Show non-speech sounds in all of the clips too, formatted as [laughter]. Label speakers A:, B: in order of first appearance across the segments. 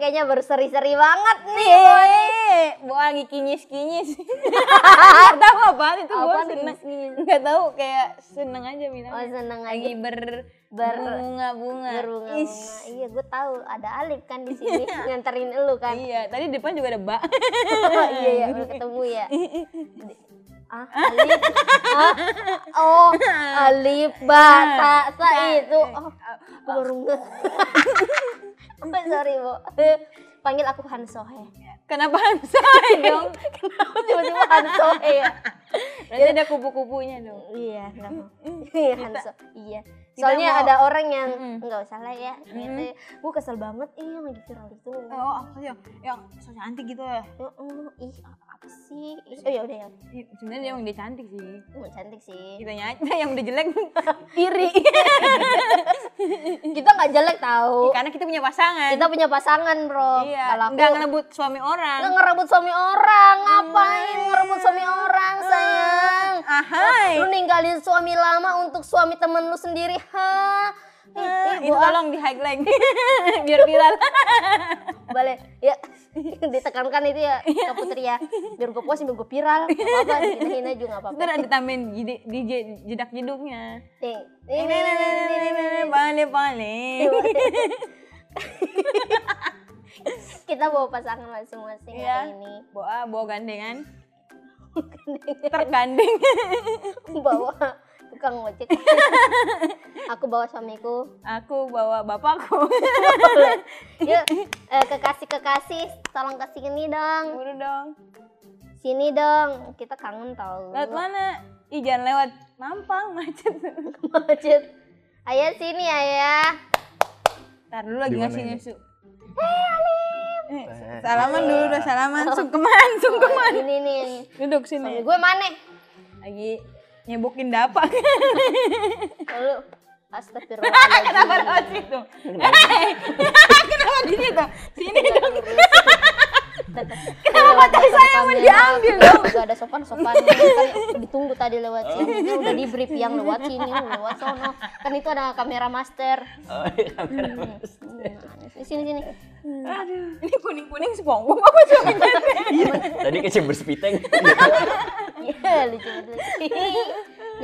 A: kayaknya berseri-seri banget nih.
B: Nih, Bu lagi [laughs] kinyis-kinyis. Gak tahu apaan itu Bu
A: Apaan
B: seneng.
A: kinyis-kinyis?
B: Gak tahu kayak seneng aja Mina.
A: Oh seneng
B: lagi
A: lagi
B: ber
A: Ber-
B: bunga-bunga.
A: berunga
B: Is.
A: Iya gue tahu ada Alif kan di sini nganterin elu kan.
B: Iya, tadi di depan juga ada Mbak.
A: [laughs]
B: [laughs]
A: Oh, iya ya udah ketemu ya. Ah, Alif. Ah, oh, Alif bata sa itu. Oh, aku baru nge- [laughs] Apa sorry, Bu. Panggil aku Han Sohe.
B: Kenapa [laughs] Hansoe dong?
A: Kenapa tiba-tiba Han Sohe ya?
B: Berarti ada kupu-kupunya dong.
A: Iya, kenapa? Iya, Han Sohe. Iya.
B: Kita
A: Soalnya
B: mau-
A: ada orang yang
B: Mm-mm.
A: nggak usah lah ya, gitu. Gue kesel banget, ih yang lagi viral itu.
B: Oh, apa sih yang, yang so cantik gitu ya?
A: Heeh, ih apa sih? Ih, Oh ya udah ya,
B: Ih, Sebenarnya emang dia cantik sih.
A: Emang cantik sih.
B: Kita aja [laughs] yang udah jelek iri.
A: [laughs] Kita nggak jelek tahu.
B: Karena kita punya pasangan.
A: Kita punya pasangan, Bro.
B: kan? iya.
A: Kalau aku
B: nggak Mm. ngerebut suami
A: nggak
B: orang.
A: ngerebut suami orang, ngapain ngerebut suami orang,
B: Mm.
A: sayang?
B: Ah, Ahai.
A: Lu ninggalin suami lama untuk suami temen lu sendiri, ha? Ih,
B: Eh,
A: ih,
B: itu
A: gua-
B: tolong di highlight [laughs] biar viral. [laughs]
A: Boleh. Ya, [laughs] ditekankan itu ya, Kak Putri ya. Biar gue puas, biar gue viral. Gak apa-apa, dihina aja gak apa-apa.
B: Ntar ada tambahin gide- DJ jedak jeduknya.
A: Nih, nih, nih, nih, nih, nih, nih.
B: Balik balik.
A: [laughs] Kita bawa pasangan masing-masing
B: Iya.
A: hari ini. [laughs]
B: Bawa bawa gandengan. Tergandeng. [laughs]
A: bawa tukang ojek aku bawa suamiku
B: Aku bawa bapakku.
A: [laughs] yuk eh, kekasih kekasih tolong ke sini dong
B: Buru dong.
A: sini dong kita kangen tau [laughs]
B: Lewat mana? Ih jangan lewat. Mampang macet.
A: macet ayah sini ayah
B: Ntar dulu lagi
C: Di mana
B: ngasih
C: ini?
B: nyusu. Hei Alim. Salaman dulu udah
A: [laughs]
B: salaman. Sungkeman, sungkeman.
A: ini nih
B: Duduk
A: suami
B: sini.
A: gue mana
B: Lagi nyebukin dapak. [laughs]
A: lalu astagfirullah
B: Kenapa lewat situ? [laughs] Hei, Kenapa di situ? Sini dong.
A: Kenapa tadi saya mau diambil dong? Gak Iya, ada sopan-sopan kan ditunggu tadi lewat sini Ini udah di brief yang lewat sini, lewat sono Kan itu ada kamera master Hmm,
C: Oh, iya, kamera master.
A: Nah, Sini sini
B: Aduh. Ini kuning-kuning SpongeBob apa sih?
C: Tadi kecebur sepiteng. [laughs]
A: Iya lucu banget.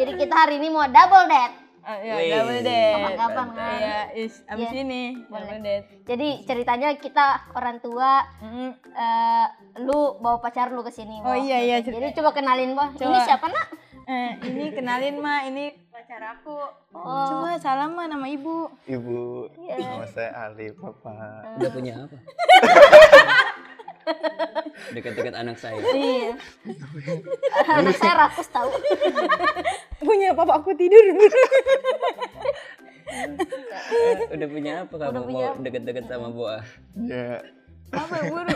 A: Jadi kita hari ini mau double date.
B: Ah, Ya,
C: Wih.
B: double date.
A: Kapan-kapan kan.
B: Iya, is abis
A: Iya,
B: ini double date.
A: Jadi ceritanya kita orang tua
B: Mm.
A: eh, lu bawa pacar lu ke sini.
B: Oh
A: Bo.
B: iya iya.
A: Jadi
B: cerita.
A: coba kenalin, Bo. Ini
B: Coba.
A: siapa, Nak?
B: Eh, ini kenalin Ma, ini pacar aku. Coba salam Ma nama Ibu.
C: Ibu,
A: Iya.
C: nama saya Alif, Bapak. Udah punya apa? Dekat-dekat anak saya.
A: Iya. Anak saya rakus tahu.
B: Punya papa aku tidur.
C: Udah punya apa kamu mau deket-deket sama Boa?
A: Hmm.
D: Ya,
B: Apa buru?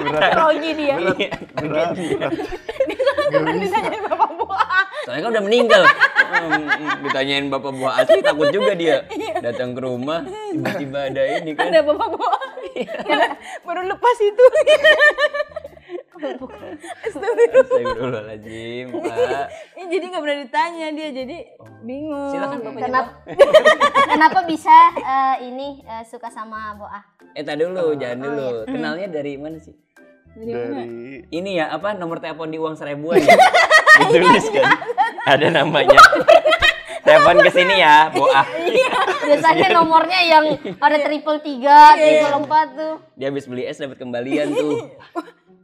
D: berat,
B: Rogi dia.
D: berat, berat.
B: Ditanyain bapak buah.
C: Soalnya kan udah meninggal. Hmm, hmm, ditanyain bapak buah asli takut juga dia datang ke rumah tiba-tiba ada ini kan.
B: Ada bapak buah. Yang Iya. baru lepas itu. Astagfirullah.
C: Astagfirullahaladzim, Pak.
B: Ini Iya, jadi nggak berani tanya dia jadi bingung.
C: Silakan Bapak
B: Kenapa?
A: Kenapa? Kenapa [laughs] bisa eh, ini eh, suka sama Boa?
C: Eh, tak dulu, jangan dulu. Kenalnya dari mana sih?
D: Dari
C: Ini ya, apa nomor telepon di uang seribuan ya? Ditulis kan? Ada [laughs] namanya. telepon ke sini ya, Boa.
B: Iya.
A: Biasanya nomornya yang ada triple tiga, triple empat tuh.
C: Dia habis beli es dapat kembalian tuh.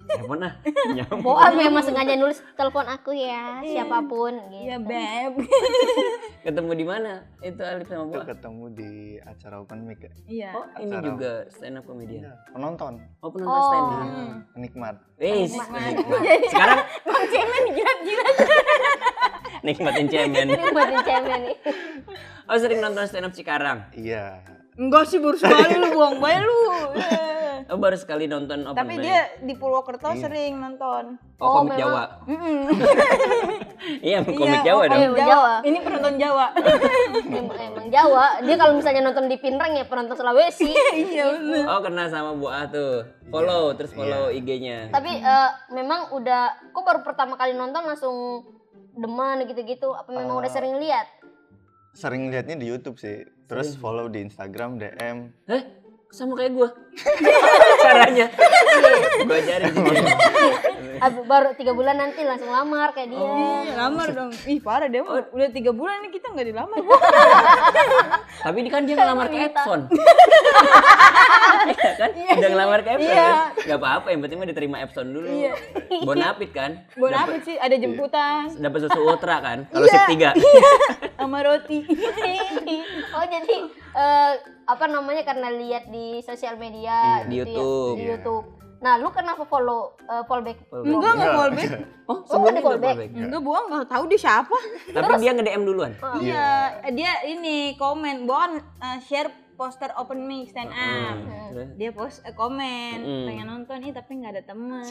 C: Telepon ah. Nyamuk.
A: Boa
B: Iya.
A: memang sengaja nulis telepon aku ya, siapapun gitu.
B: Ya beb.
C: Ketemu di mana? Itu Alif sama Boa.
D: itu ketemu di acara open mic ya.
B: Iya.
C: Oh, ini
D: Acara. Iya.
C: juga stand up comedian.
D: Penonton,
C: Oh, penonton stand up.
B: Hmm.
A: Hmm.
D: penikmat.
C: Wis, sekarang
B: Bang Cemen gila-gila.
C: nikmatin cemen.
A: Ini buatin cewek nih.
C: Oh, sering nonton stand up Cikarang.
D: Iya,
B: Enggak sih baru sekali lu buang bayi lu.
C: Oh, baru sekali nonton
B: Iya.
C: open
B: Tapi
C: mic.
B: dia di Purwokerto
C: Iya.
B: sering nonton.
C: Oh,
A: memang.
C: komik Jawa.
B: Mm-mm.
C: [laughs] Iya, komik
B: Iya,
C: Jawa
B: oh,
C: dong.
A: komik. Jawa.
B: Ini penonton
C: [laughs]
B: Jawa.
A: Emang, emang Jawa, dia kalau misalnya nonton di Pinrang ya penonton Sulawesi.
B: Iya bener.
C: Oh, kenal sama Bu A tuh. Follow, terus follow IG-nya.
A: Tapi eh, memang udah, kok baru pertama kali nonton langsung demen gitu-gitu? Apa
B: Oh.
A: memang udah sering lihat?
D: sering liatnya di YouTube sih. Terus follow di Instagram, DM.
C: Hah? sama kayak gue [laughs] caranya gue ajarin jadinya.
A: Ab- baru tiga bulan nanti langsung lamar kayak dia
B: Iya, lamar dong. Ih, parah dia
C: Oh.
B: mah. udah tiga bulan ini kita nggak dilamar.
C: tapi ini kan dia ngelamar ke Epson Iya kan udah ngelamar ke Epson
B: Iya.
C: kan nggak apa-apa yang penting mah diterima Epson dulu
B: Iya.
C: bonapit kan
B: Buat apa sih? Ada jemputan
C: dapat susu ultra kan kalau sip tiga
B: sama
C: [laughs]
B: roti.
A: oh jadi eh, apa namanya karena lihat di sosial media gitu ya,
C: Di YouTube.
A: di
D: Iya.
A: YouTube nah lu kenapa follow eh, fallback
B: Enggak enggak
D: Enggak.
B: callback.
C: oh
A: Oh, ada
C: sebelumnya udah
A: callback.
C: callback
B: Enggak bohong, enggak tahu dia siapa.
C: tapi dia nge DM duluan
B: Iya, dia ini komen, Bon eh, share poster open mic stand up.
C: Hmm, terus?
B: Dia post eh, komen,
C: Mm.
B: pengen nonton ih tapi nggak ada teman.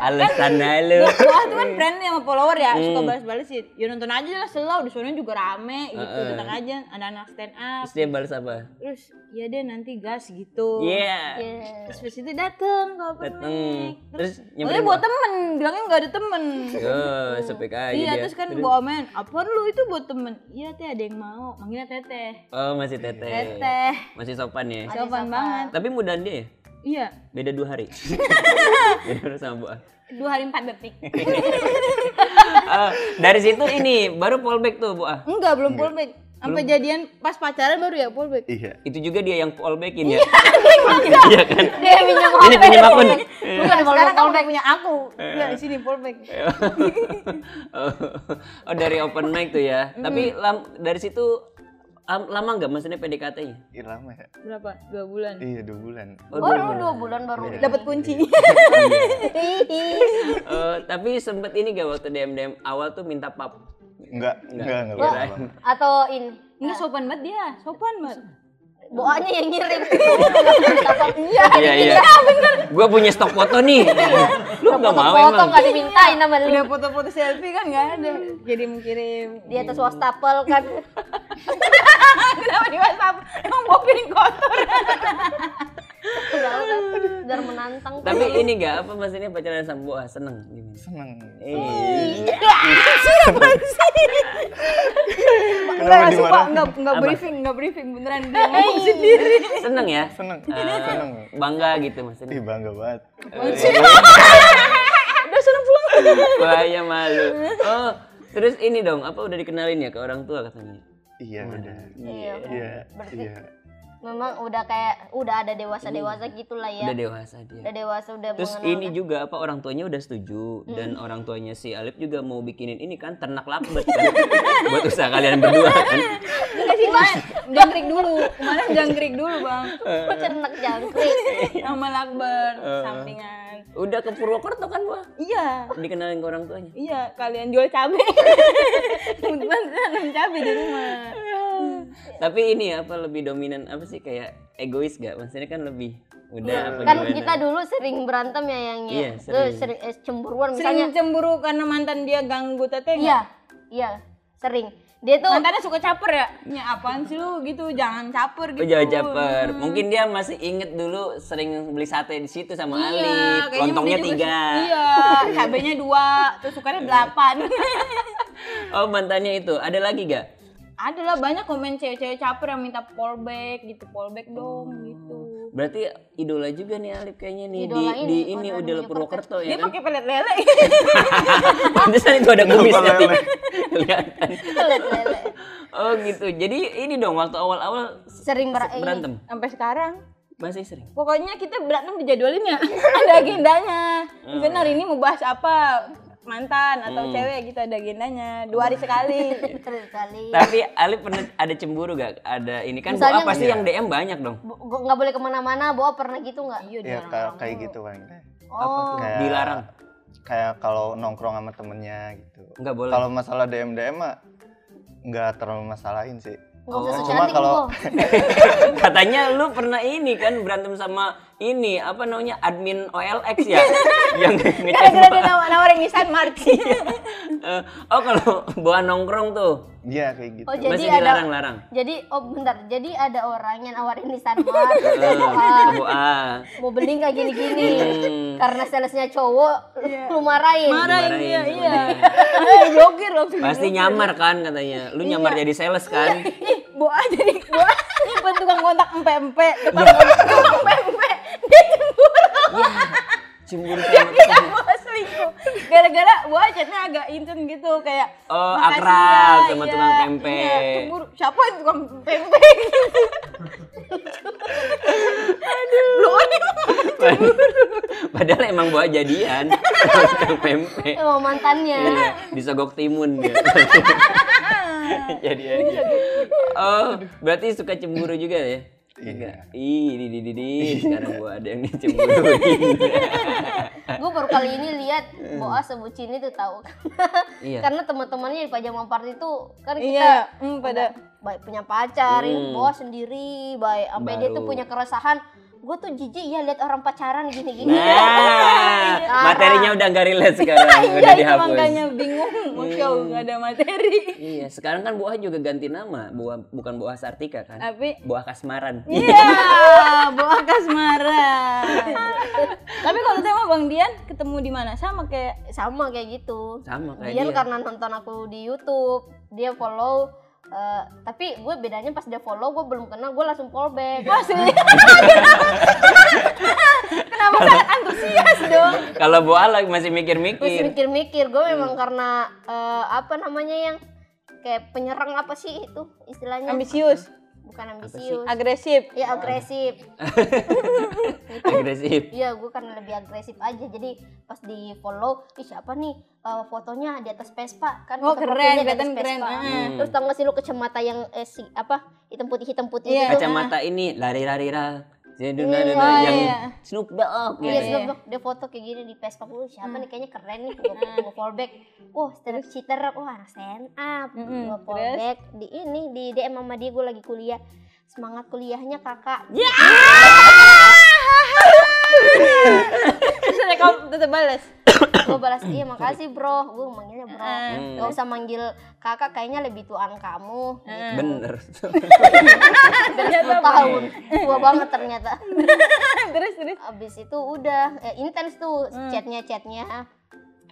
C: alasan lu
B: Wah itu kan friend sama follower ya,
C: Mm.
B: suka balas-balasin. Ya nonton aja lah selalu di sana juga rame gitu,
C: Heeh.
B: tentang aja anak-anak stand up.
C: terus dia balas apa
B: Terus ya deh nanti gas gitu.
C: iya
A: Iya.
B: Terus pas itu dateng kalau
C: Dateng.
B: pernah.
C: Terus
B: Terus,
C: nyamperin
B: Terus buat temen, bilangnya nggak ada temen.
C: [laughs] Oh, sepik aja
B: iya,
C: dia.
B: terus kan bawa men, apaan lu itu buat temen? Iya teh ada yang mau, manggilnya teteh.
C: Oh, masih teteh.
B: Teteh,
C: Masih sopan ya.
B: sopan banget.
C: Tapi mudahan dia ya?
B: Iya,
C: Beda dua hari. Beda dua sama Bu A.
B: dua hari empat detik.
C: Ah, dari situ ini baru fallback tuh Bu Ah, A.
B: Enggak, belum pullback. Sampai jadian pas pacaran baru ya [laughs] pullback.
D: Iya.
C: Itu juga dia yang fallbackin ya. Iya kan?
A: dia pinjam
C: Ini
A: HP
C: pinjam akun.
B: Iya.
A: bukan kalau
B: Sekarang kamu udah punya aku. Iya, di sini pullback.
C: Oh, oh, dari open mic tuh ya. Tapi lam- dari situ am- lama nggak maksudnya PDKT-nya?
D: Ih, lama ya?
A: Hmm.
B: Berapa? Dua bulan.
D: Iya, dua bulan.
C: Oh,
A: oh
C: dua
A: lu
C: bulan.
A: dua bulan baru
B: Dapat kunci.
C: Eh, tapi sempet ini gak waktu DM DM awal tuh minta pap.
D: Enggak, enggak, enggak
A: Wah.
D: berapa.
A: atau ini
B: [laughs] Enggak sopan banget dia, sopan banget.
A: boanya yang
C: [laughs]
A: ngirim
B: Iya,
C: Iya iya. Gue punya stok foto nih. Lu nggak mau
A: foto
C: emang?
A: nggak dimintain sama lu
B: udah foto-foto selfie kan nggak ada. Kirim-kirim.
A: di atas wastafel kan
B: [laughs] Kenapa di WhatsApp? Emang bawa piring kotor.
A: Padahal kan biar menantang kan.
C: Tapi ini gak apa maksudnya pacaran sama Boa seneng gimana?
D: Seneng.
A: Iya.
C: Eh,
B: Enggak, sumpah,
D: Kenapa dimarahin?
B: enggak, enggak
C: Apa?
B: briefing, enggak briefing beneran dia ngomong sendiri.
C: seneng ya?
D: Seneng.
A: Iya.
D: Ah,
C: Eh,
D: Iya, Seneng.
C: bangga gitu maksudnya.
D: Ih, bangga banget.
B: Udah seneng pulang.
C: Bahaya malu. Oh, terus ini dong, apa udah dikenalin ya ke orang tua katanya?
D: Iya, udah.
A: Iya.
D: Iya,
A: Berarti-
D: iya.
A: memang udah kayak udah ada dewasa dewasa gitulah
B: Iya.
A: ya
C: Udah dewasa
A: udah
C: dia.
A: dewasa udah
C: Terus
A: mengenal
C: ini juga apa orang tuanya udah setuju dan orang tuanya si Alif juga mau bikinin ini kan ternak lakbet kan [laughs] buat usaha kalian berdua kan.
B: Enggak sih, Bang. Jangkrik dulu. Kemarin jangkrik dulu,
C: [laughs]
B: Bang.
C: eh,
A: cernak jangkrik
B: Sama lakbar, sampingan.
C: Udah ke Purwokerto kan Boa?
B: Iya.
C: Dikenalin ke orang tuanya.
B: Iya, kalian jual
C: [laughs]
B: cabe. Kebetulan saya nanam cabe di rumah.
C: Tapi ini apa lebih dominan apa sih kayak egois gak? Maksudnya kan lebih
B: Iya.
C: udah apa
A: kan
C: gimana?
B: gitu.
A: kita dulu sering berantem ya yang ya.
C: Iya,
A: Tuh, sering eh, cemburuan misalnya
B: Sering ya? cemburu karena mantan dia ganggu teteh. nggak?
A: iya iya sering dia tuh
B: Mantannya suka caper ya? Ya apaan sih lu gitu, jangan caper
C: Oh,
B: gitu.
C: jangan caper. Mungkin dia masih inget dulu sering beli sate di situ sama Ali.
B: Iya, kayaknya
C: Lontongnya
B: dia juga-
C: tiga.
B: [laughs]
C: Iya.
B: Iya, cabenya dua, terus sukanya
C: [laughs]
B: delapan. [laughs]
C: Oh mantannya itu. Ada lagi gak?
B: Ada lah banyak komen cewek-cewek caper yang minta fallback gitu, fallback dong
C: Oh.
B: gitu.
C: Berarti idola juga nih Alif kayaknya nih di,
A: Idola
C: di
A: ini,
C: ini
A: orang
C: udah Purwokerto ya [laughs]
B: Dia
C: kan?
B: pakai pelet lele.
C: Pantesan itu ada kumisnya
D: Kenapa
C: nih. Kelihatan.
A: lele.
C: Oh gitu. Jadi ini dong waktu awal-awal s-
A: sering ber- ini.
C: berantem
B: Sampai sekarang.
C: masih sering.
B: Pokoknya kita berantem dijadwalin ya. [laughs] ada agendanya.
C: Oh.
B: Misalnya hari ini mau bahas apa? Mantan atau
C: Hmm.
B: cewek gitu ada agendanya. Dua
C: Oh.
B: hari sekali.
C: [laughs]
A: Sering eh, sekali
C: Tapi Alif pernah ada cemburu gak? Ada ini kan
A: Misalnya-
C: Boa pasti yang DM banyak dong.
A: Bu- bu- nggak boleh kemana-mana bawa pernah gitu nggak
B: Iya,
D: Iya,
B: jarang.
D: kayak kayak gitu kan.
A: oh
D: Kayak-
C: Dilarang.
D: Kayak kalau nongkrong sama temennya gitu.
C: Nggak boleh.
D: Kalau masalah DM DM mah nggak terlalu masalahin sih.
A: nggak usah Oh, so
D: Oh. Cuma
A: cantik
D: kalau-
A: Bo.
C: [laughs] Katanya lu pernah ini kan berantem sama ini apa namanya admin OLX
A: [laughs]
C: ya yang
B: Gara-gara dia
C: ngecek.
B: nawar nawarin Nissan Marti.
C: Eh, oh kalau bawa nongkrong tuh
D: [laughs] Iya, kayak gitu.
A: Oh, jadi
C: masih
A: ada-
C: dilarang-larang.
A: jadi oh bentar jadi ada orang yang nawarin di Sanmar
C: Eh, ah, ke Boa.
A: mau beli nggak gini-gini
C: Hmm.
A: karena salesnya cowok
B: Iya.
A: lu marahin
B: [laughs] Marahin
C: Dimarahin
B: dia,
C: sama
B: [laughs] iya. Iya. Dia jokir langsung.
C: Pasti nyamar kan katanya. Lu nyamar jadi sales kan?
B: Ih, Boa jadi gua nyimpen tukang kontak empe-empe depan gua.
C: Iya.
B: tukang empe-empe dia cemburu
C: Cemburu
B: dia
C: sama
B: bilang gua selingkuh gara-gara gua chatnya agak intens gitu kayak
C: Oh,
B: "Makasih
C: akrab sama tukang
B: iya,
C: pempek."
B: iya, cemburu siapa yang tukang pempek aduh lu
C: [laughs] Padahal emang bawa jadian. Pempe.
A: Emang
C: Iya.
A: mantannya.
C: Disogok timun
B: [laughs]
C: dia. Jadi aja. Oh, berarti suka cemburu juga ya?
D: Iya.
C: Ih, di di di di. Sekarang gua ada
B: [laughs]
C: yang
B: Iya.
C: dicemburuin. Eh.
A: gue baru kali ini
C: [laughs]
A: lihat Boas sebucin itu tahu
C: Iya.
A: [laughs] karena teman-temannya di pajama party itu kan kita
B: iya mm, pada
A: baik punya pacar ya,
C: Hmm.
A: Boas sendiri baik sampai dia tuh
C: Baru.
A: punya keresahan gue tuh jijik ya lihat orang pacaran gini-gini
C: Nah, materinya udah nggak relate sekarang,
B: [laughs] iya
C: udah
B: itu
C: dihapus.
B: makanya bingung masya allah nggak ada materi
C: Iya, sekarang kan Boa juga ganti nama, Boa bukan Boa Sartika kan?
B: tapi
C: Boa
B: [laughs]
C: Kasmaran.
B: Iya, Boa Kasmaran. Tapi kalau sama Bang Dian ketemu di mana? Sama kayak
A: sama kayak gitu
C: Sama kayak
A: Dian
C: dia.
A: karena nonton aku di YouTube dia follow eh, tapi gue bedanya pas dia follow gue belum kenal gue langsung follow back
B: asli. Kenapa
A: [laughs]
B: sangat antusias dong?
C: Kalau Boa lagi masih
A: Terus
C: mikir-mikir.
A: mikir-mikir gue memang karena eh, apa namanya yang kayak penyerang apa sih itu istilahnya
B: [laughs] Ambisius,
A: bukan ambisius
B: agresif.
A: ya agresif
C: Agresif.
A: Iya, gue karena lebih agresif aja. Jadi pas di follow, ih siapa nih eh, fotonya di atas Vespa kan?
B: Oh,
A: foto
B: keren,
A: profilnya di atas
B: kelihatan keren,
A: Vespa.
B: ah.
A: Terus tau gak sih lu kacamata yang eh, si, apa hitam putih hitam putih
B: Iya,
A: gitu?
C: Kacamata ini lari-lari lah. Jadi
A: Iya,
C: yang
B: iya.
C: Snoop Dogg
A: Iya, Hmm.
C: gitu.
A: sebelum dok, dia foto kayak gini di Vespa. Wah, siapa nih kayaknya keren nih. Gue follow back. Wah, terus cheater. Wah, anak stand up.
B: Mm-mm,
A: Gue follow
B: terus?
A: back di ini di DM sama dia gue lagi kuliah. Semangat kuliahnya kakak.
B: Ya. Terus ada kamu tetap balas.
A: gue balas iya makasih bro. Gue manggilnya bro.
B: Mm.
A: Gak usah manggil kakak kayaknya lebih tuaan kamu.
C: Bener. [laughs]
B: Ternyata
A: 10 tahun tua banget ternyata
B: [laughs] terus terus.
A: abis itu udah eh, intens tuh chatnya chatnya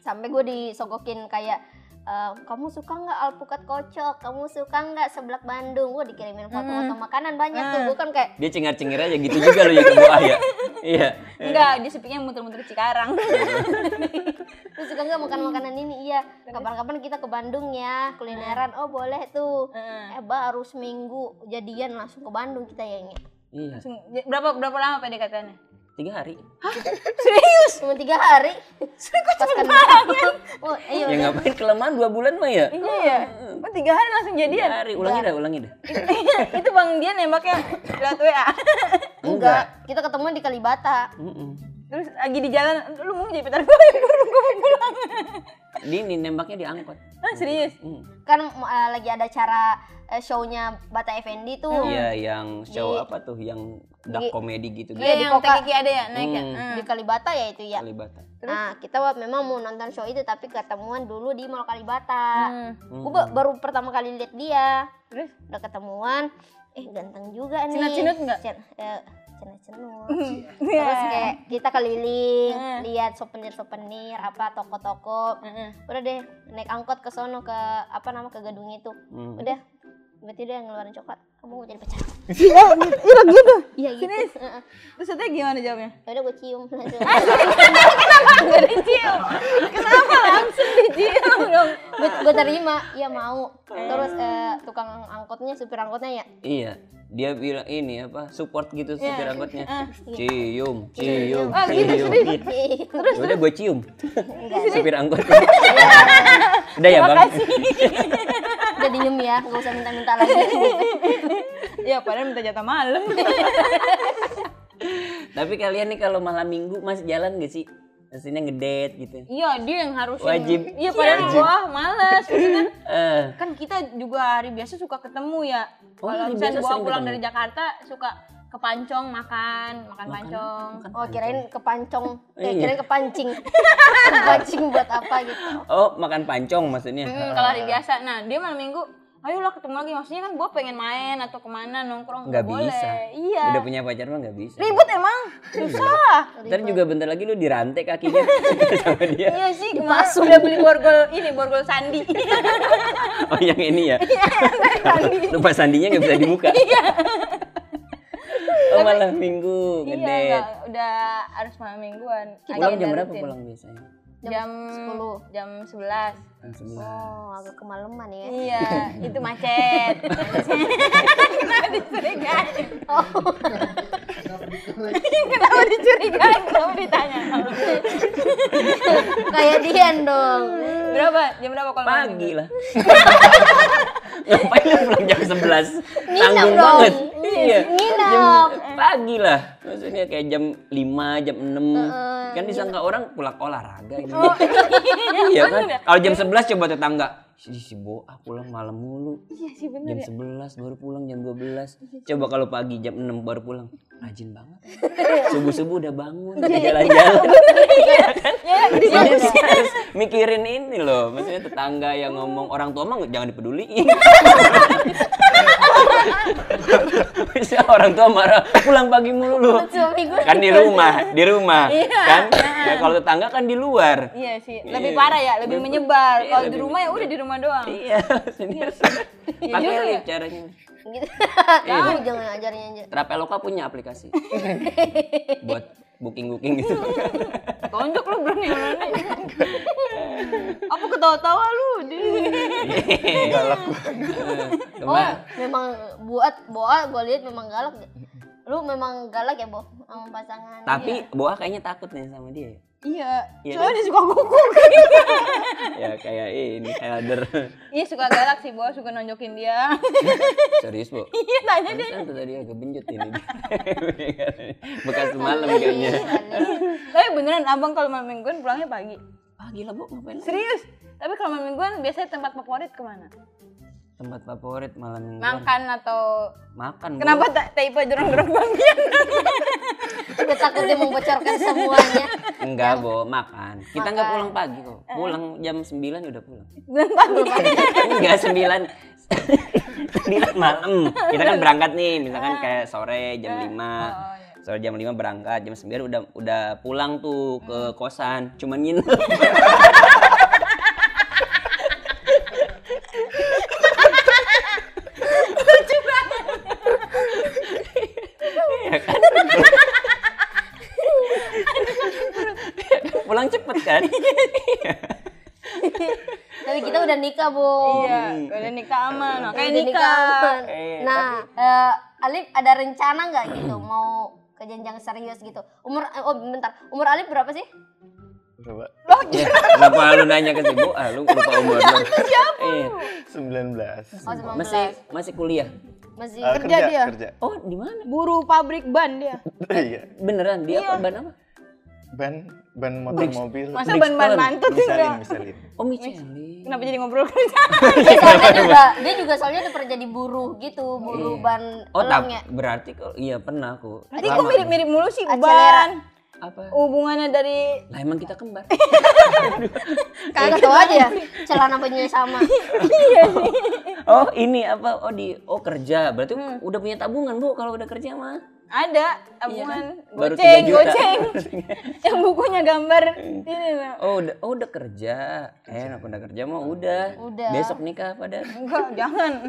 A: sampai gue disogokin kayak eh, kamu suka nggak alpukat kocok kamu suka nggak seblak Bandung gue dikirimin foto-foto makanan banyak tuh gue kan kayak
C: Dia cengar-cengir aja gitu juga loh ya ke Boa ya. Iya.
B: Eh. Enggak, dia sepiknya muter-muter Cikarang. [laughs]
A: lu suka nggak makan makanan ini iya kapan-kapan kita ke Bandung ya kulineran oh boleh tuh eh baru seminggu jadian langsung ke Bandung kita ya Nya.
C: Iya.
B: Langsung- Berapa berapa lama PDKT-nya?
C: Tiga hari.
B: Serius?
A: cuma tiga hari pas kan oh iya
C: Ya ngapain kelamaan dua bulan mah ya?
B: Iya ya. Oh, tiga hari langsung jadian.
C: Tiga hari. Ulangi dah, ulangi dah.
B: itu bang dia nembaknya lewat WA
A: enggak kita ketemu di Kalibata
C: Mm-mm.
B: [laughs] terus lagi di jalan lu mau jadi [laughs] petar gue buru gue mau pulang [laughs]
C: Dia ini nembaknya di angkot.
B: ah serius
C: Mm.
A: kan uh, lagi ada acara uh, show-nya Bata Effendi tuh
B: Hmm.
C: Iya, yang
A: Oh.
C: show
A: Di-
C: apa tuh? Yang dark
A: di-
C: comedy gitu.
B: iya
A: di
B: yang
A: Koka.
B: kaki ada ya naik ya
C: Hmm.
B: Ah.
A: di Kalibata ya itu
B: Iya.
A: ya.
C: Kalibata.
A: Nah kita wa- memang mau nonton show itu tapi ketemuan dulu di Mall Kalibata.
B: Hmm.
A: Gue baru pertama kali lihat dia,
B: terus
A: udah ketemuan, eh ganteng juga nih.
B: Cenut-cenut nggak? Iya.
A: Cen- eh,
B: [laughs]
A: cenut-cenut. Terus kayak kita keliling,
B: Hmm.
A: lihat souvenir-souvenir apa toko-toko.
B: Heeh.
A: Udah deh naik angkot ke sono ke apa nama ke gedung itu.
C: Hmm.
A: Udah berarti dia ngeluarin coklat. Kamu mau jadi pacar? Iya gitu. Iya gitu. Heeh.
B: terus katanya gimana jawabnya
A: Ya udah gue cium [laughs] langsung.
B: nggak dicium kenapa langsung dicium dong
A: gue gue terima, iya mau. Terus eh, tukang angkotnya, supir angkotnya ya.
C: Iya, dia bilang ini apa support gitu
B: Iya.
C: supir angkotnya. Cium, cium,
B: Ah, iya. gitu,
C: cium.
B: serius.
A: [laughs] Terus
C: Ya udah gue cium. [laughs] supir angkot.
B: Iya.
C: [laughs] udah ya
B: terima
C: bang.
B: kasih
A: udah diem ya, gak usah minta-minta lagi.
B: ya padahal minta jatah malam
C: Tapi kalian nih kalau malam minggu masih jalan gak sih? Maksudnya ngedate gitu.
B: iya dia yang harus
C: Wajib.
B: iya padahal gua malas maksudnya
C: Eh,
B: kan kita juga hari biasa suka ketemu ya.
C: Oh,
B: Kalau
C: hari
B: misalnya
C: biasa
B: gua
C: sering
B: pulang
C: ketemu.
B: dari Jakarta suka ke Pancong makan, makan Pancong.
A: Oh kirain kepancong, eh,
C: Iya.
A: kirain
C: [laughs]
A: kepancing. kepancing buat apa gitu.
C: oh makan pancong maksudnya.
B: Iya. Hmm, kalau hari biasa. Nah, dia malam Minggu ayolah ketemu lagi maksudnya kan gue pengen main atau kemana nongkrong
C: Nggak
B: nggak boleh
C: bisa.
B: iya
C: Udah punya pacar mah nggak bisa.
B: ribut emang susah
C: Ntar juga bentar lagi lu dirantai kakinya [laughs] sama dia.
B: iya sih kemarin udah beli borgol ini borgol sandi
C: [laughs]
B: Iya,
C: Oh yang ini ya. [laughs] Lupa sandinya nggak bisa dibuka.
B: Iya.
C: Oh malam minggu
B: iya
C: ngedet.
B: nggak, udah harus malam mingguan
C: Pulang
B: Agenda
C: Iya, jam berapa
B: rutin.
C: pulang biasanya?
B: jam
A: 10.
B: jam 11
C: Jam sebelas.
A: Oh, agak kemalaman ya.
B: iya
C: [laughs]
B: itu macet kenapa dicurigain kenapa dicurigain kenapa
C: [laughs]
B: ditanya
A: Kayak Dian dong.
B: berapa jam berapa kalau malam
C: Pagi
B: minggu?
C: lah. Ngapain lu pulang jam 11? Tanggung
A: dong.
C: banget.
A: Iya, nginep.
C: Jam pagi lah. Maksudnya kayak jam 5, jam 6. kan disangka orang pulang olahraga gitu. iya kan? Kalau jam 11 coba tetangga. Si, si Bo, ah pulang malam mulu.
B: iya sih bener
C: Jam 11 baru pulang, jam 12. Coba kalau pagi jam 6 baru pulang. Rajin banget. Subuh-subuh udah bangun, jalan-jalan.
A: Iya,
C: Serius, serius. mikirin ini loh maksudnya tetangga yang ngomong orang tua mah jangan dipeduliin bisa orang tua marah pulang pagi mulu lu
A: suami gue.
C: kan di rumah di rumah kan ya, kalau tetangga kan di luar
B: Iya sih,
C: Iya.
B: lebih parah ya, lebih menyebar.
C: Iya,
B: Kalau di
C: lebih
B: rumah ya udah di rumah doang.
C: iya serius pakai
B: juga
C: lip caranya
A: Gitu.
C: [laughs] Iya.
A: Kamu jangan ajarin aja.
C: Traveloka punya aplikasi buat booking booking gitu
B: Tonjok lu berani berani.
C: [laughs]
B: Apa ketawa-tawa lu? Di.
D: galak
C: Iya.
A: Oh.
C: Kemar-
A: Memang buat Boa gue lihat memang galak. Lu memang galak ya, Bo, sama pasangan.
C: tapi Boa kayaknya takut nih sama dia ya.
B: Iya,
C: Iya,
B: soalnya dia suka guguk.
C: ya kayak ini elder
B: [laughs] Iya suka galak sih, Bo, suka nonjokin dia. [laughs]
C: serius bu
B: Iya, tanya dia.
C: Pantesan tuh tadi agak benjut ini. [laughs] Bekas malam kayaknya.
B: Tapi beneran abang kalau malam mingguan pulangnya pagi.
C: Ah gila bu, ngapain? lagi?
B: Serius? Tapi kalau malam mingguan biasanya tempat favorit kemana?
C: Iya. Tempat favorit malam mingguan.
B: Makan atau
C: Makan. Bu.
B: kenapa tak tipe jorong-jorong bangkian?
A: Gue Iya. takut dia membocorkan semuanya.
C: Enggak bu, makan. Eh. Kita nggak pulang pagi kok. Pulang jam 9 udah pulang.
B: Bulan pagi.
C: Iya. Enggak 9 sembilan malam kita kan berangkat nih misalkan kayak sore jam 5 sore jam 5 berangkat jam 9 udah udah pulang tuh ke kosan cuman nginep Iya kan? pulang cepet kan
A: Tapi kita udah nikah, Bo.
B: Iya, udah nikah aman. Kayak
A: Udah
B: nikah.
A: aman. Nah, eh, Alif ada rencana nggak gitu mau ke jenjang serius gitu? Umur eh, oh bentar, umur Alif berapa sih?
D: coba
C: Ya, Kenapa lu nanya ke si Bu? Ah, lu lupa umur lu. Iya.
D: 19
A: Oh, iya. 19.
C: Masih Ah. masih kuliah.
A: Masih
D: Eh, kerja
B: dia?
D: kerja [laughs]
C: Oh, di mana?
B: Buruh pabrik ban dia.
D: iya
C: Beneran dia apa ban apa?
D: ban ban motor mobil
B: Masa ban-ban
C: Brixton.
B: mantut sih
D: misalin
B: enggak?
D: misalin
C: Oh, Michelin.
B: Kenapa jadi ngobrol
A: Dia
C: [laughs]
A: soalnya juga dia juga soalnya dia pernah jadi buruh gitu, buruh ban
C: Oh,
A: elang
C: tak,
A: ya.
C: berarti kok iya pernah aku.
B: [laughs] Berarti kok mirip-mirip mulu sih ban.
C: Apa?
B: Oh. Hubungannya dari
C: Lah emang kita kembar. [laughs]
A: Kagak tahu aja ya, celana bajunya sama.
C: oh, ini apa? Oh, di oh kerja. Berarti udah punya tabungan, Bu, kalau udah kerja mah.
B: ada tabungan
C: Baru
B: goceng,
C: 3 juta.
B: goceng. [laughs] Yang bukunya gambar ini loh.
C: [laughs] Oh, udah oh, udah kerja. Eh, apa udah kerja mah udah.
A: Udah.
C: Besok nikah pada.
B: Enggak, jangan.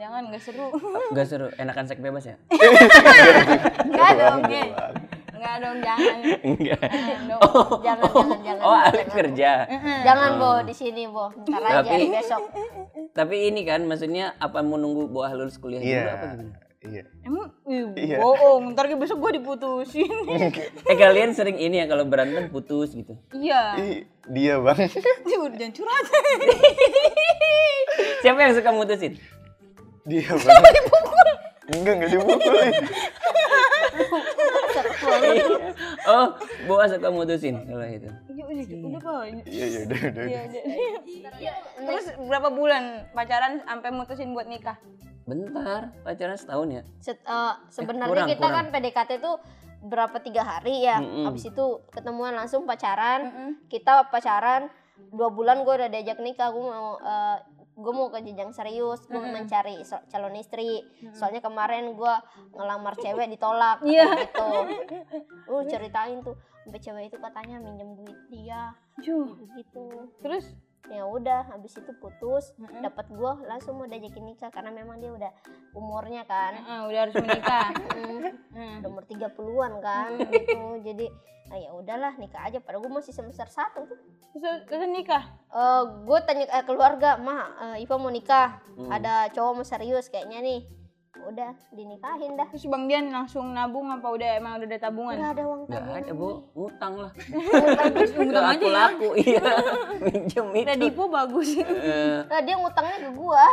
B: Jangan enggak
C: [laughs]
B: seru.
C: Gak seru, enakan seks bebas ya?
B: Enggak dong, Ge. Enggak dong, jangan.
C: Enggak.
B: Dong.
C: Oh,
A: Jangan,
C: oh,
A: jangan, jangan,
C: oh, Alif kerja.
A: Jangan, Bo, di sini, Bo. Ntar aja
C: Tapi-
A: besok. [laughs]
C: Tapi ini kan maksudnya apa mau nunggu buah lulus kuliah dulu apa
D: iya
C: gimana?
D: iya
B: Emang ih,
D: Iya.
B: bohong, ntar ge besok gua diputusin.
C: Eh kalian sering ini ya kalau berantem putus gitu. [laughs]
B: Iya.
D: Ih, dia
A: [laughs]
D: bang
B: Udah jangan curhat.
C: Siapa yang suka mutusin? [laughs]
D: dia bang enggak enggak
A: [laughs]
D: dipukulin
C: Oh, Boa suka mutusin kalau itu.
B: Iya, udah, udah, Boy.
D: iya iya udah udah udah.
B: Iya. Terus berapa bulan pacaran sampai mutusin buat nikah?
C: Bentar, pacaran setahun ya?
A: Se- eh, sebenarnya
C: kurang,
A: kita
C: kurang.
A: kan PDKT itu berapa tiga hari ya habis itu ketemuan langsung pacaran kita pacaran dua bulan gue udah diajak nikah gue mau eh, gue mau ke jenjang serius gue mencari so- calon istri soalnya kemarin gue ngelamar cewek
B: [laughs]
A: ditolak
B: Iya.
A: katanya gitu lu ceritain tuh sampai cewek itu katanya minjem duit dia
B: Juh.
A: gitu
B: Terus
A: ya udah habis itu putus
B: Mm-mm.
A: dapat gue langsung mau diajakin nikah karena memang dia udah umurnya kan
B: eh, udah harus menikah.
A: Mm.
B: Hmm.
A: udah umur 30-an kan
C: [laughs]
A: gitu. Jadi ah, ya udahlah nikah aja padahal gue masih semester 1 tuh.
B: Terus, terus nikah.
A: Eh, gue tanya ke keluarga, "Mah, eh, Iva mau nikah.
C: Hmm.
A: Ada cowok mau serius kayaknya nih." Udah dinikahin dah.
B: Terus Bang Dian langsung nabung apa udah emang udah ada tabungan?
A: Gak ada uang
C: Gak ada bu, ngutang lah.
B: Terus ngutang aja
C: aku
B: ya.
C: laku, iya. [laughs] Minjem itu.
B: Kredipo bagus.
C: Eh,
A: Nah, dia ngutangnya ke gue.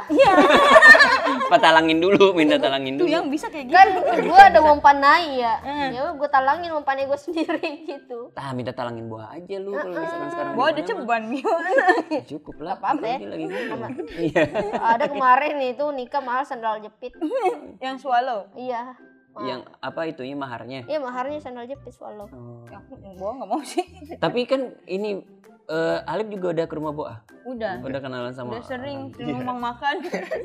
C: apa talangin dulu, minta
B: Iya,
C: talangin
B: Tuh
C: dulu.
B: yang bisa kayak gitu.
A: Kan [laughs] gue ada mempanai ya.
C: Hmm.
A: Ya gue talangin mempanai gue [laughs] sendiri gitu.
C: Ah, minta talangin buah aja lu kalau misalkan sekarang.
B: Gua ada
C: gimana, mah.
B: ceban gitu.
C: Cukup lah.
A: apa-apa ya.
C: Lagi lagi ngomong. Iya.
A: Ada kemarin itu nikah mahal sandal jepit.
B: yang swallow.
A: Iya.
C: Yang apa itunya maharnya.
A: Iya maharnya sandal jepit walau.
C: Oh.
B: Ya, gua nggak mau sih.
C: Tapi kan ini eh, Alif juga udah ke rumah Boa.
B: Udah.
C: Udah kenalan sama.
B: Udah sering ke rumah makan.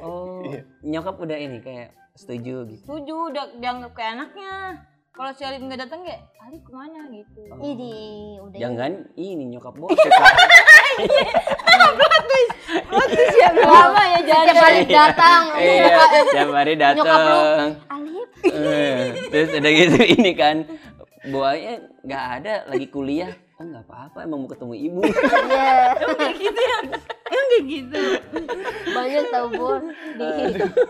C: Oh, nyokap udah ini kayak setuju gitu.
B: Setuju udah dianggap kayak anaknya. Kalau si Alif nggak datang kayak Alif kemana gitu.
A: Idi, udah
C: Jangan ini nyokap Boa.
B: Lama ya jalan.
A: Setiap
C: [laughs]
A: hari datang.
C: Iya, tiap hari
A: Nyokap lu,
C: datang.
A: Alif,
C: Eh, terus udah gitu [laughs] ini kan buahnya nggak ada lagi kuliah oh nggak apa-apa emang mau ketemu ibu
A: ya
B: gitu ya. Emang kayak gitu.
A: banyak tau Bon di,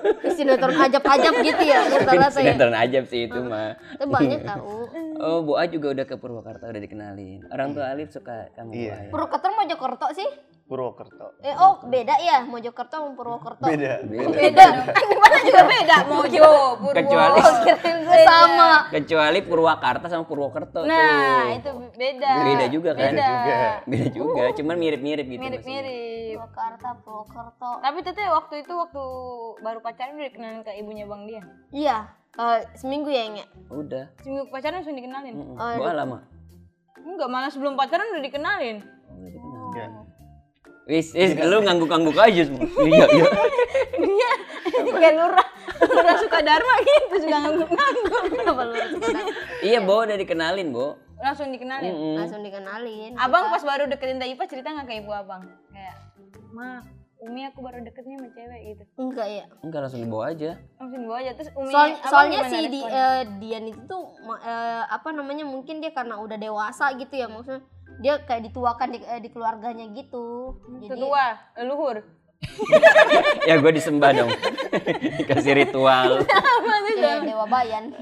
A: di sinetron ajab-ajab gitu ya rata-rata ya.
C: sinetron aja sih itu mah
A: Itu banyak tau.
C: oh Boa juga udah ke Purwakarta udah dikenalin orang tua Alif suka ya. kamu
D: Iya.
C: Boa
A: Purwokerto Mojokerto sih?
D: Purwokerto.
A: Eh oh beda ya Mojokerto sama Purwokerto.
D: Beda.
C: ya?
A: Beda.
B: Mana juga beda.
C: [laughs]
B: Mojo, Purwo.
C: kecuali
A: Kirain gue sama.
C: kecuali Purwakarta sama Purwokerto
B: Nah,
C: tuh
B: itu beda.
C: beda juga kan
B: Beda.
C: beda juga cuman mirip-mirip gitu maksudnya.
B: Mirip-mirip.
A: Purwakarta, Purwokerto.
B: Tapi Tete waktu itu waktu baru pacaran udah dikenalin ke ibunya Bang Dian.
A: Iya. eh, seminggu ya Nya?
C: Hmm. udah
B: Seminggu pacaran langsung dikenalin.
C: Mm-mm. Boa lama
B: Enggak, malah sebelum pacaran udah dikenalin.
C: gitu.
D: Iya.
C: wis wis lu ngangguk-ngangguk aja semua [laughs] iya iya
B: Iya, [laughs] kayak Lurah. Lurah Sukadharma gitu suka ngangguk-ngangguk.
A: Kenapa lu harus kena?
C: iya Boa udah dikenalin Bo
B: Langsung dikenalin.
C: Mm-mm.
A: Langsung dikenalin.
B: Abang pas baru deketin Teh Ipa cerita nggak ke ibu abang? Kayak, Ma, Umi aku baru deket nih sama cewek gitu.
A: Enggak ya.
C: Enggak langsung dibawa aja.
B: Langsung dibawa aja. Terus Umi,
A: Soal-
B: abang
A: soalnya
B: gimana
A: si di,
B: responnya?
A: eh, Dian itu tuh ma- eh, apa namanya mungkin dia karena udah dewasa gitu ya maksudnya dia kayak dituakan di, eh, di keluarganya gitu. Jadi
B: Tetua,
A: [laughs]
B: leluhur.
C: ya gue disembah dong. Dikasih ritual.
A: dia dewa bayan.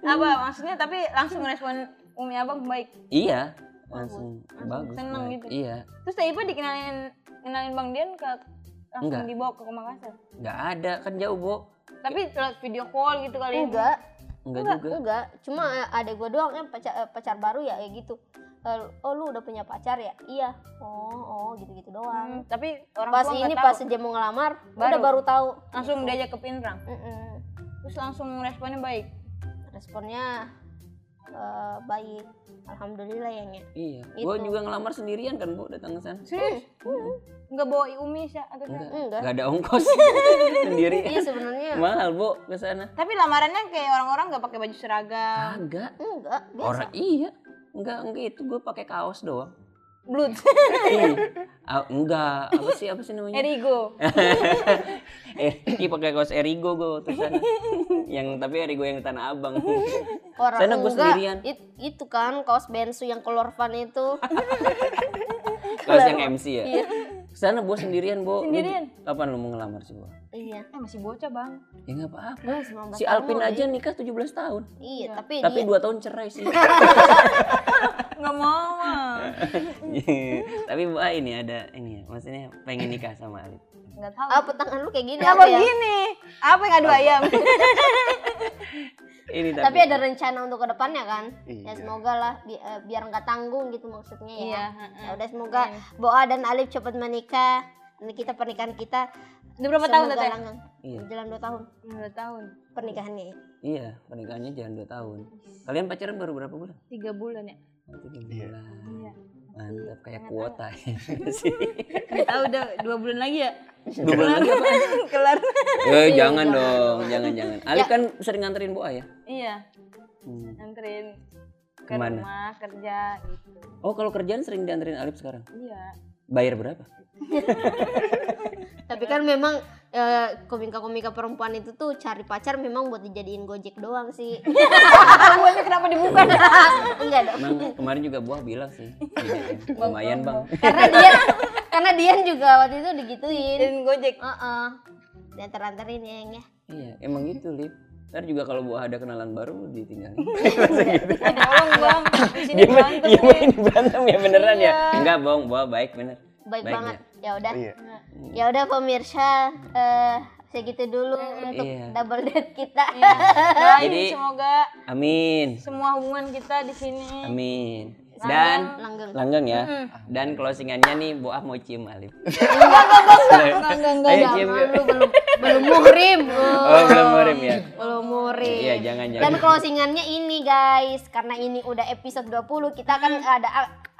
B: Apa maksudnya tapi langsung respon Umi abang baik.
C: iya, langsung bagus.
B: Seneng
C: baik.
B: gitu.
C: Iya.
B: Terus Teh Ipa dikenalin kenalin Bang Dian ke langsung
C: Enggak.
B: dibawa ke Makassar.
C: Enggak ada, kan jauh, Bu.
B: Tapi lewat video call gitu kali.
A: enggak,
C: Enggak juga.
A: enggak. Cuma eh, ada gue doang yang pacar, eh, pacar baru ya kayak gitu. Eh, oh lu udah punya pacar ya? Iya. Oh, oh gitu-gitu
B: Hmm,
A: doang.
B: tapi orang
A: Pas
B: tua nggak
A: ini
B: tahu.
A: pas dia mau ngelamar,
B: Baru.
A: udah baru tahu.
B: langsung diajak ke Pinrang.
A: Mm-mm.
B: Terus langsung responnya baik.
A: Responnya eh, baik. Alhamdulillah ya, Nya.
C: Iya.
A: Gitu.
C: Gue juga ngelamar sendirian kan, Bu, datang ke sana.
B: Serius? Enggak Hmm. bawa Umi Sya, atau Sya?
C: Enggak.
A: Enggak.
C: Enggak ada ongkos. sendiri.
A: Iya
B: [laughs]
A: sebenarnya
C: Mahal, Bu, ke sana.
B: Tapi lamarannya kayak orang-orang nggak pakai baju seragam.
C: Agak.
A: enggak. Biasa.
C: Orang iya. Enggak, enggak itu gue pakai kaos doang.
B: Blood.
C: Iya. Ah, enggak, apa sih apa sih namanya?
B: [laughs] Erigo.
C: Eh, Ki pakai kaos Erigo gue waktu sana. yang tapi Erigo yang Tanah Abang.
A: Orang
C: Sana gua
A: enggak,
C: sendirian.
A: it- itu kan kaos bensu yang color van itu.
B: [laughs]
C: Kaos yang MC ya. Sana gue sendirian, Bu. Lu-
B: Sendirian?
C: Kapan lu mau ngelamar sih, Bu?
A: iya.
B: Eh masih bocah bang.
C: Ya enggak apa-apa.
A: Gua 19
C: Si Alpin aja nikah 17 tahun.
A: Iya, tapi,
C: Tapi
A: dia
C: dua tahun cerai sih. [laughs]
B: Nggak mau. ah.
C: Tapi Bu A ini ada ini ya, maksudnya pengen nikah sama Alif.
B: Nggak tahu.
A: apa tangan lu kayak gini
B: Apa
A: apa ya?
B: gini? Apa yang adu ayam?
C: Ini tapi,
A: Tapi ada rencana untuk kedepannya kan? Ya
D: Iya.
A: semoga lah bi- eh, biar nggak tanggung gitu maksudnya ya.
B: Iya,
A: Ya udah semoga Boa dan Alif cepat menikah. Dan kita pernikahan kita
B: Udah berapa tahun
A: semoga
B: Tete?
A: langgang.
C: Iya.
A: Jalan dua tahun
B: Dua tahun.
A: pernikahannya. ya.
C: Iya, pernikahannya jangan dua tahun. Kalian pacaran baru berapa bulan?
B: Tiga bulan ya.
C: Tiga
D: Iya.
C: bulan.
B: Iya.
C: Mantap kayak kuota ya sih.
B: Nggak tahu udah dua bulan lagi ya.
C: [laughs] Dua bulan lagi apa?
B: [laughs] Kelar.
C: [laughs] Eh jangan dong, jangan jangan. Alif kan sering nganterin Boa ya?
B: Iya,
C: Hmm.
B: nganterin ke
C: Kemana?
B: rumah kerja gitu.
C: Oh kalau kerjaan sering dianterin Alif sekarang?
B: Iya.
C: Bayar berapa?
A: Tapi kan memang eh, komika-komika perempuan itu tuh cari pacar memang buat dijadiin gojek doang [laughs] sih. Kan
B: Semuanya kenapa dibuka?
A: [laughs] Enggak dong.
C: [laughs] Emang kemarin juga Boa bilang sih. Iya, Lumayan bang.
A: Karena dia karena Dian juga waktu itu digituin.
B: Dan Gojek.
A: Heeh. Diantar-antarin ya, Yang, ya.
C: Iya emang gitu Lip. Ntar juga kalau Boa ada kenalan baru lu [laughs] ditinggalin.
B: Ada orang bang. Di sini
C: Dia
B: berantem deh.
C: main, dia main Iya, berantem ya beneran ya?
B: Iya.
C: Enggak bohong, Boa baik bener.
A: Baik,
C: Baik
A: banget. Ya udah.
D: Iya.
A: Ya udah pemirsa eh segitu dulu untuk
C: Iya.
A: double date kita.
B: Doain Nah,
C: Jadi-
B: semoga
C: Amin.
B: semua hubungan kita di sini.
C: Amin. Dan
A: [laughs] Langgeng.
C: langgeng ya. Dan closingannya nih Boa mau cium Alif.
B: Enggak, enggak, enggak.
C: Ayo cium
A: Jangan
C: yuk.
A: lu belum belum muhrim.
C: Oh belum murim ya.
A: Belum muhrim.
C: Iya jangan jangan.
A: Dan closingannya ini guys, karena ini udah episode 20 kita akan ada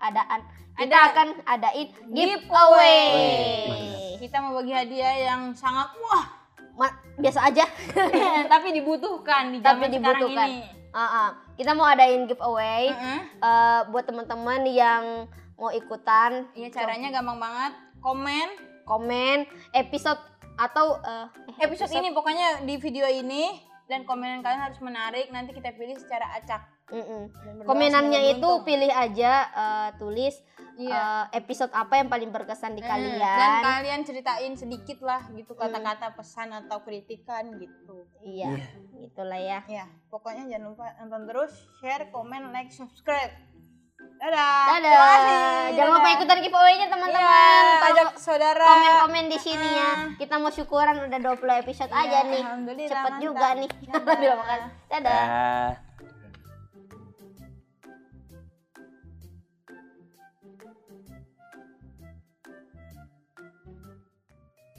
A: adaan kita akan adain giveaway.
B: Kita mau bagi hadiah yang sangat wah, [clears throat]
A: Ma- biasa [laughs] aja.
B: tapi dibutuhkan di zaman
A: Tapi
B: sekarang
A: dibutuhkan.
B: ini.
A: Ah, ah. Kita mau adain giveaway
B: Heeh.
A: eh, buat teman-teman yang mau ikutan
B: Iya caranya gampang banget. Komen
A: komen episode atau eh,
B: episode ini pokoknya di video ini dan komenan kalian harus menarik. Nanti kita pilih secara acak.
A: mm-mm.
B: Dan berdoa semoga
A: komenannya itu
B: beruntung.
A: pilih aja eh, tulis
B: Iya.
A: eh, episode apa yang paling berkesan di
B: Hmm,
A: kalian.
B: Dan kalian ceritain sedikit lah gitu kata-kata pesan atau kritikan gitu.
A: Iya, gitulah ya.
B: Ya, pokoknya jangan lupa nonton terus, share, komen, like, subscribe. Dadah. Terima kasih.
A: Dadah. Jangan lupa
B: Dadah.
A: ikutan giveaway-nya teman-teman.
B: Iya,
A: Kalau
B: ajak saudara.
A: komen-komen di sini ya. Kita mau syukuran udah 20 episode aja
B: Iya,
A: nih.
B: Ya, Alhamdulillah,
A: Cepet
B: mantap.
A: [laughs] juga nih. Alhamdulillah makasih. Dadah.
C: Dah.